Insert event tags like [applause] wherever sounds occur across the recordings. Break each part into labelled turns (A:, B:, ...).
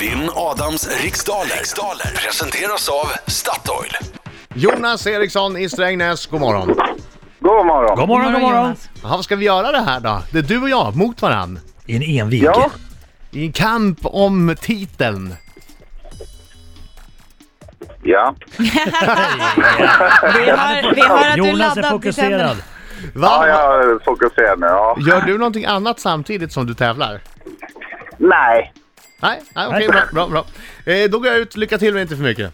A: Vinn Adams riksdaler. riksdaler presenteras av Statoil.
B: Jonas Eriksson i Strängnäs, god morgon.
C: God morgon.
D: God morgon, god morgon. [laughs]
E: Jonas.
B: Jaha, ska vi göra det här då? Det är du och jag mot varann.
D: I en envig.
C: Ja,
B: I en kamp om titeln.
C: ja.
E: Vi har, vi har att du
D: Jonas är
E: laddat i tänderna.
D: fokuserad.
B: Va?
C: ja jag fokuserar nu. Ja.
B: Gör du någonting annat samtidigt som du tävlar?
C: Nej.
B: Nej, nej okej,
D: Nej.
B: bra, bra, bra. Eh, då går jag ut, lycka till men inte för mycket.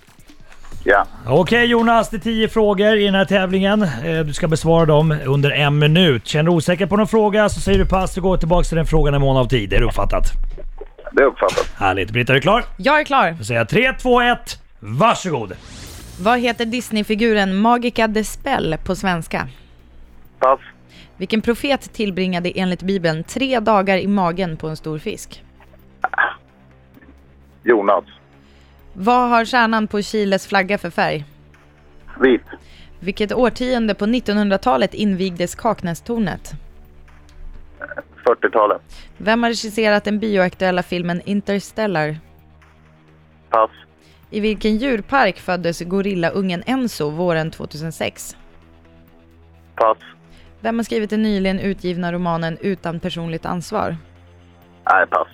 C: Ja.
D: Okej Jonas, det är tio frågor i den här tävlingen. Eh, Du ska besvara dem under en minut. Känner du osäker på någon fråga så säger du pass och går tillbaka till den frågan i mån av tid. Det är uppfattat.
C: Det är uppfattat.
D: Härligt. Britta, är du klar?
E: Jag är klar.
D: Då säger jag 3, 2, 1. Varsågod!
E: Vad heter Disney-figuren Magica de Spell på svenska?
C: Pass.
E: Vilken profet tillbringade enligt Bibeln tre dagar i magen på en stor fisk?
C: Jonas.
E: Vad har stjärnan på Chiles flagga för färg?
C: Vit.
E: Vilket årtionde på 1900-talet invigdes Kaknästornet?
C: 40-talet.
E: Vem har regisserat den bioaktuella filmen Interstellar?
C: Pass.
E: I vilken djurpark föddes gorillaungen Enzo våren 2006?
C: Pass.
E: Vem har skrivit den nyligen utgivna romanen Utan personligt ansvar?
C: Nej, pass.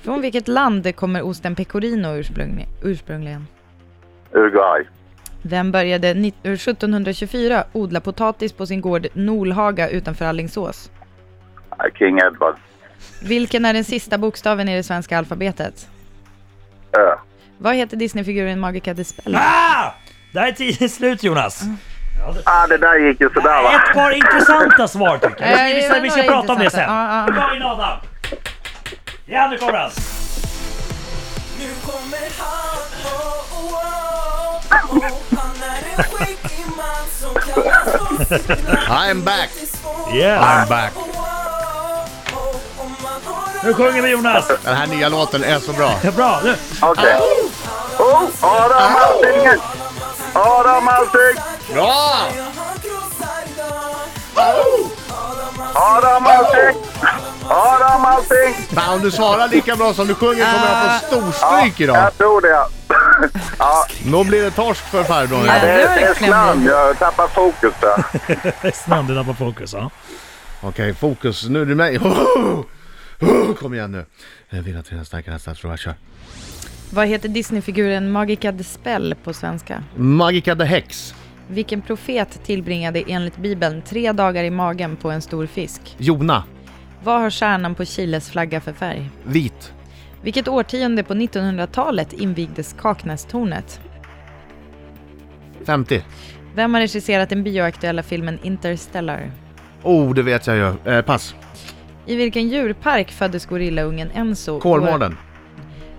E: Från vilket land kommer osten pecorino ursprungli- ursprungligen?
C: Uruguay.
E: Vem började ni- 1724 odla potatis på sin gård Nolhaga utanför Alingsås?
C: Nej, King Edward.
E: Vilken är den sista bokstaven i det svenska alfabetet?
C: Ö.
E: Vad heter Disneyfiguren Magica de Spell?
D: Ah! Där är tiden slut Jonas.
C: Ah, det där gick ju sådär va.
D: Ett par intressanta svar tycker jag.
E: Eh,
D: Vi
E: det
D: ska,
E: var
D: vi ska
E: några
D: prata om det sen.
E: intressanta. Ja,
D: Bra in Adam! Ja, nu kommer han!
F: Nu kommer han, oh, oh, oh, oh. Han är en skäggig man som kallas för
B: I'm back!
D: Yeah.
B: I'm back!
D: Nu sjunger vi Jonas!
B: Den här nya låten är så bra.
D: Ja, bra! Nu.
C: Okej. Oh, Adam Alsing! Adam Alsing!
B: Bra!
C: Adam Alsing! Adam Alsing!
B: Fan, om du svarar lika bra som du sjunger kommer jag få storstryk idag.
C: Jag tror det. Ja,
B: Då blir det torsk för farbrorn.
E: Ja.
C: det
E: Det var
C: är
E: ju
C: ett namn. Jag tappar fokus där.
D: [laughs] Snabbt, du tappar fokus. Ja.
B: Okej, fokus. Nu är du med. Oh, Kom igen nu. Jag vill att dina starka hästar tror jag kör.
E: Vad heter Disneyfiguren Magica de Spell på svenska?
B: Magica the Hex.
E: Vilken profet tillbringade enligt Bibeln tre dagar i magen på en stor fisk?
B: Jona.
E: Vad har stjärnan på Chiles flagga för färg?
B: Vit.
E: Vilket årtionde på 1900-talet invigdes Kaknästornet?
B: 50.
E: Vem har regisserat den bioaktuella filmen Interstellar?
B: Oh, det vet jag ju. Eh, pass.
E: I vilken djurpark föddes gorillaungen Enzo?
B: Kolmården.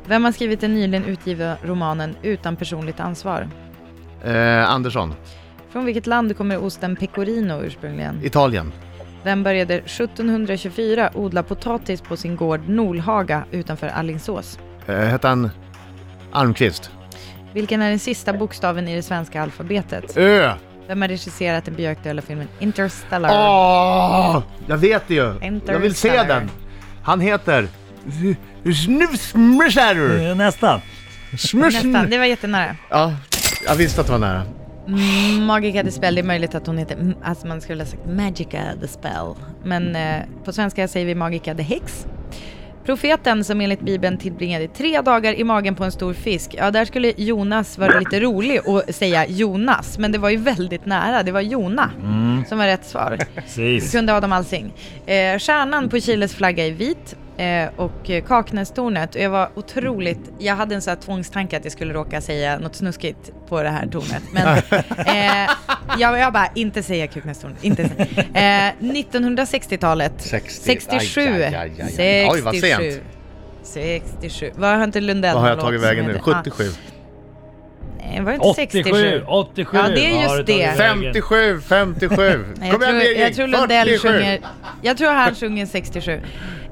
E: Vem har skrivit den nyligen utgivna romanen Utan personligt ansvar?
B: Eh, Andersson.
E: Från vilket land kommer osten pecorino ursprungligen?
B: Italien.
E: Vem började 1724 odla potatis på sin gård Nolhaga utanför Allingsås?
B: Eh, hette han Almqvist?
E: Vilken är den sista bokstaven i det svenska alfabetet?
B: Ö.
E: Vem har regisserat den bioaktuella filmen Interstellar?
B: Åh! Ah! Jag vet det ju.
E: Interstellar.
B: Jag vill se den. Han heter... Snusmrsärer.
D: Eh, Nästan.
E: Nästan, det var jättenära.
B: Ja, jag visste att det var nära.
E: Magica the Spell, det är möjligt att hon heter, m- att man skulle ha sagt Magica the Spell. Men eh, på svenska säger vi Magica the Hex. Profeten som enligt Bibeln tillbringade tre dagar i magen på en stor fisk. Ja, där skulle Jonas vara lite rolig och säga Jonas, men det var ju väldigt nära. Det var Jona som var rätt svar.
D: Precis.
E: Kunde Adam Alsing. Eh, stjärnan på Chiles flagga är vit eh, och eh, Kaknästornet. Och jag var otroligt, jag hade en sån här tvångstanke att jag skulle råka säga något snuskigt på det här tornet.
B: [laughs]
E: Men eh, jag, jag bara, inte säga Kaknästornet, inte säga. Eh, 1960-talet.
B: 60,
E: 67.
B: aj, aj, aj, aj. Oj, vad sent.
E: 67. 67. Vad har inte Lundell
B: Vad har jag
E: någon
B: tagit
E: låt som
B: vägen nu?
E: heter?
B: 77.
E: Ah, nej, var det inte
D: 87,
E: 67?
D: 87.
E: Ja, det är
D: Vad
E: just
D: har du tagit
E: det.
D: vägen?
B: 57, 57.
E: Nej, jag, tror, jag tror Lundell
B: 47.
E: sjunger, jag tror han sjunger 67.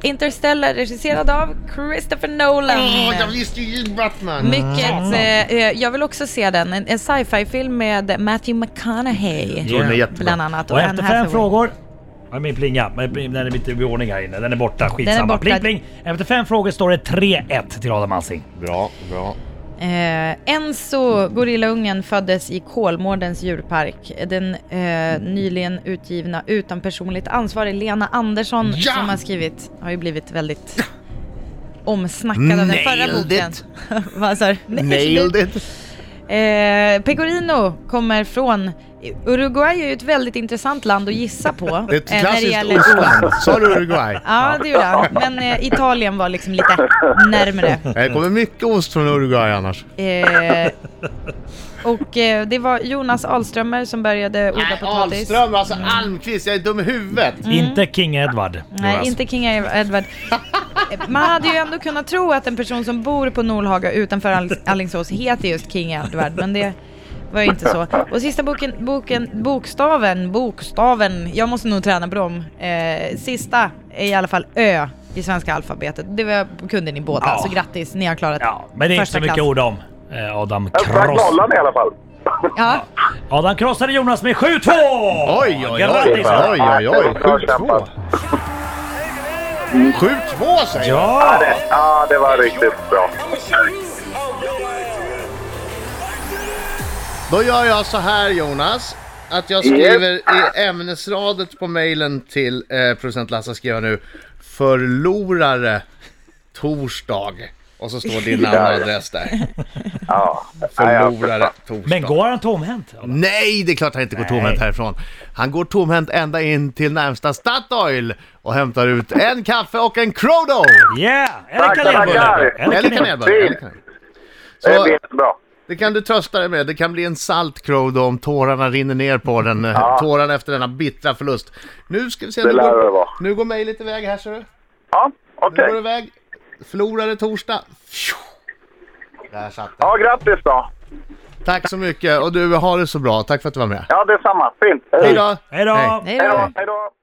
E: Interstellar regisserad av Christopher Nolan.
B: Åh, jag Mm. visste ju Batman!
E: Mycket, eh, eh, jag vill också se den, en, en sci-fi film med Matthew McConaughey
B: den är jättebra.
E: bland annat.
D: Och efter
E: Anne
D: fem
E: Hathaway.
D: frågor Ja, min plinga. Men Den är inte i ordning här inne. Den är borta. Skitsamma.
E: borta.
D: Pling, pling. Efter fem frågor står det 3-1 till Adam Alsing.
B: Bra, bra.
E: Eh, Enzo, gorillaungen, föddes i Kolmårdens djurpark. Den eh, nyligen utgivna utan personligt ansvarig Lena Andersson
B: Ja!
E: som har skrivit, har ju blivit väldigt omsnackad av den förra
B: Nailed
E: boken.
B: it.
E: [laughs] Vad sa du?
B: Nailed it!
E: [laughs] Eh, Pecorino kommer från... Uruguay är ju ett väldigt intressant land att gissa på. eh,
B: Ett
E: när det
B: klassiskt
E: gäller-
B: ostland. Sa du Uruguay?
E: Ja, det gjorde han. Men eh, Italien var liksom lite närmre.
B: Det kommer mycket ost från Uruguay annars.
E: Eh, och eh, det var Jonas Ahlströmer som började odla potatis.
B: Ahlström, alltså Almqvist, jag är dum i huvudet!
D: Inte King Edward.
E: Mm. Nej,
D: Jonas.
E: inte King Edward. Eh, Man hade ju ändå kunnat tro att en person som bor på Nolhaga utanför All- Alingsås heter just King Edward, men det var ju inte så. Och sista boken, boken, bokstaven, bokstaven, jag måste nog träna på dem. Eh, sista är i alla fall Ö i svenska alfabetet. Det var, kunde ni båda,
D: Ja.
E: så grattis, ni har klarat
D: Ja, men det är inte
E: första
D: så mycket
E: klass.
D: ord om. eh, Adam
C: Jag sprack
D: Kross.
C: nollan i alla fall.
E: Ja.
D: Adam krossade Jonas med 7-2!
B: Oj, oj, oj, oj,
D: Grattis, Adam.
B: oj, oj, oj.
C: Bra
B: 7-2.
C: kämpat.
B: 7-2 säger jag!
D: Ja!
C: Det- [laughs] Ja, det var riktigt bra.
B: Då gör jag så här Jonas, att jag skriver i ämnesradet på mejlen till eh, producent Lasse skriver jag nu Förlorare torsdag. Och så står
C: [laughs]
B: din namn och adress där.
C: Ja. Nej, jag
B: Förlorare torsdag.
D: Men går han tomhänt? Adam?
B: Nej, det är klart han inte går tomhänt härifrån. Han går tomhänt ända in till närmsta Statoil och hämtar ut en kaffe och en Crodo!
D: Yeah! Eller
C: Tackar,
D: kanelbullar!
C: tackar.
D: Eller
B: Eller
D: kanel...
B: kanelbullar. eller
C: Fint.
B: kanel.
C: Det
B: Så
C: blir bra.
B: det kan du trösta dig med. Det kan bli en salt Crodo om tårarna rinner ner på den. eh, Tårarna efter denna bittra förlust. Nu ska vi se. nu
C: lär
B: går-
C: det vara.
B: Nu går mejlet iväg här ser du.
C: Ja,
B: Nu
C: okej.
B: går det iväg. Förlorare torsdag. Fju. Där satt den.
C: Ja, grattis då.
B: Tack så mycket och du, har det så bra. Tack för att du var med.
C: Ja, detsamma. Fint.
B: Hej då!
D: Hej då!
B: Hej.
E: Nej
C: Hej
E: då.
C: då. Hej då.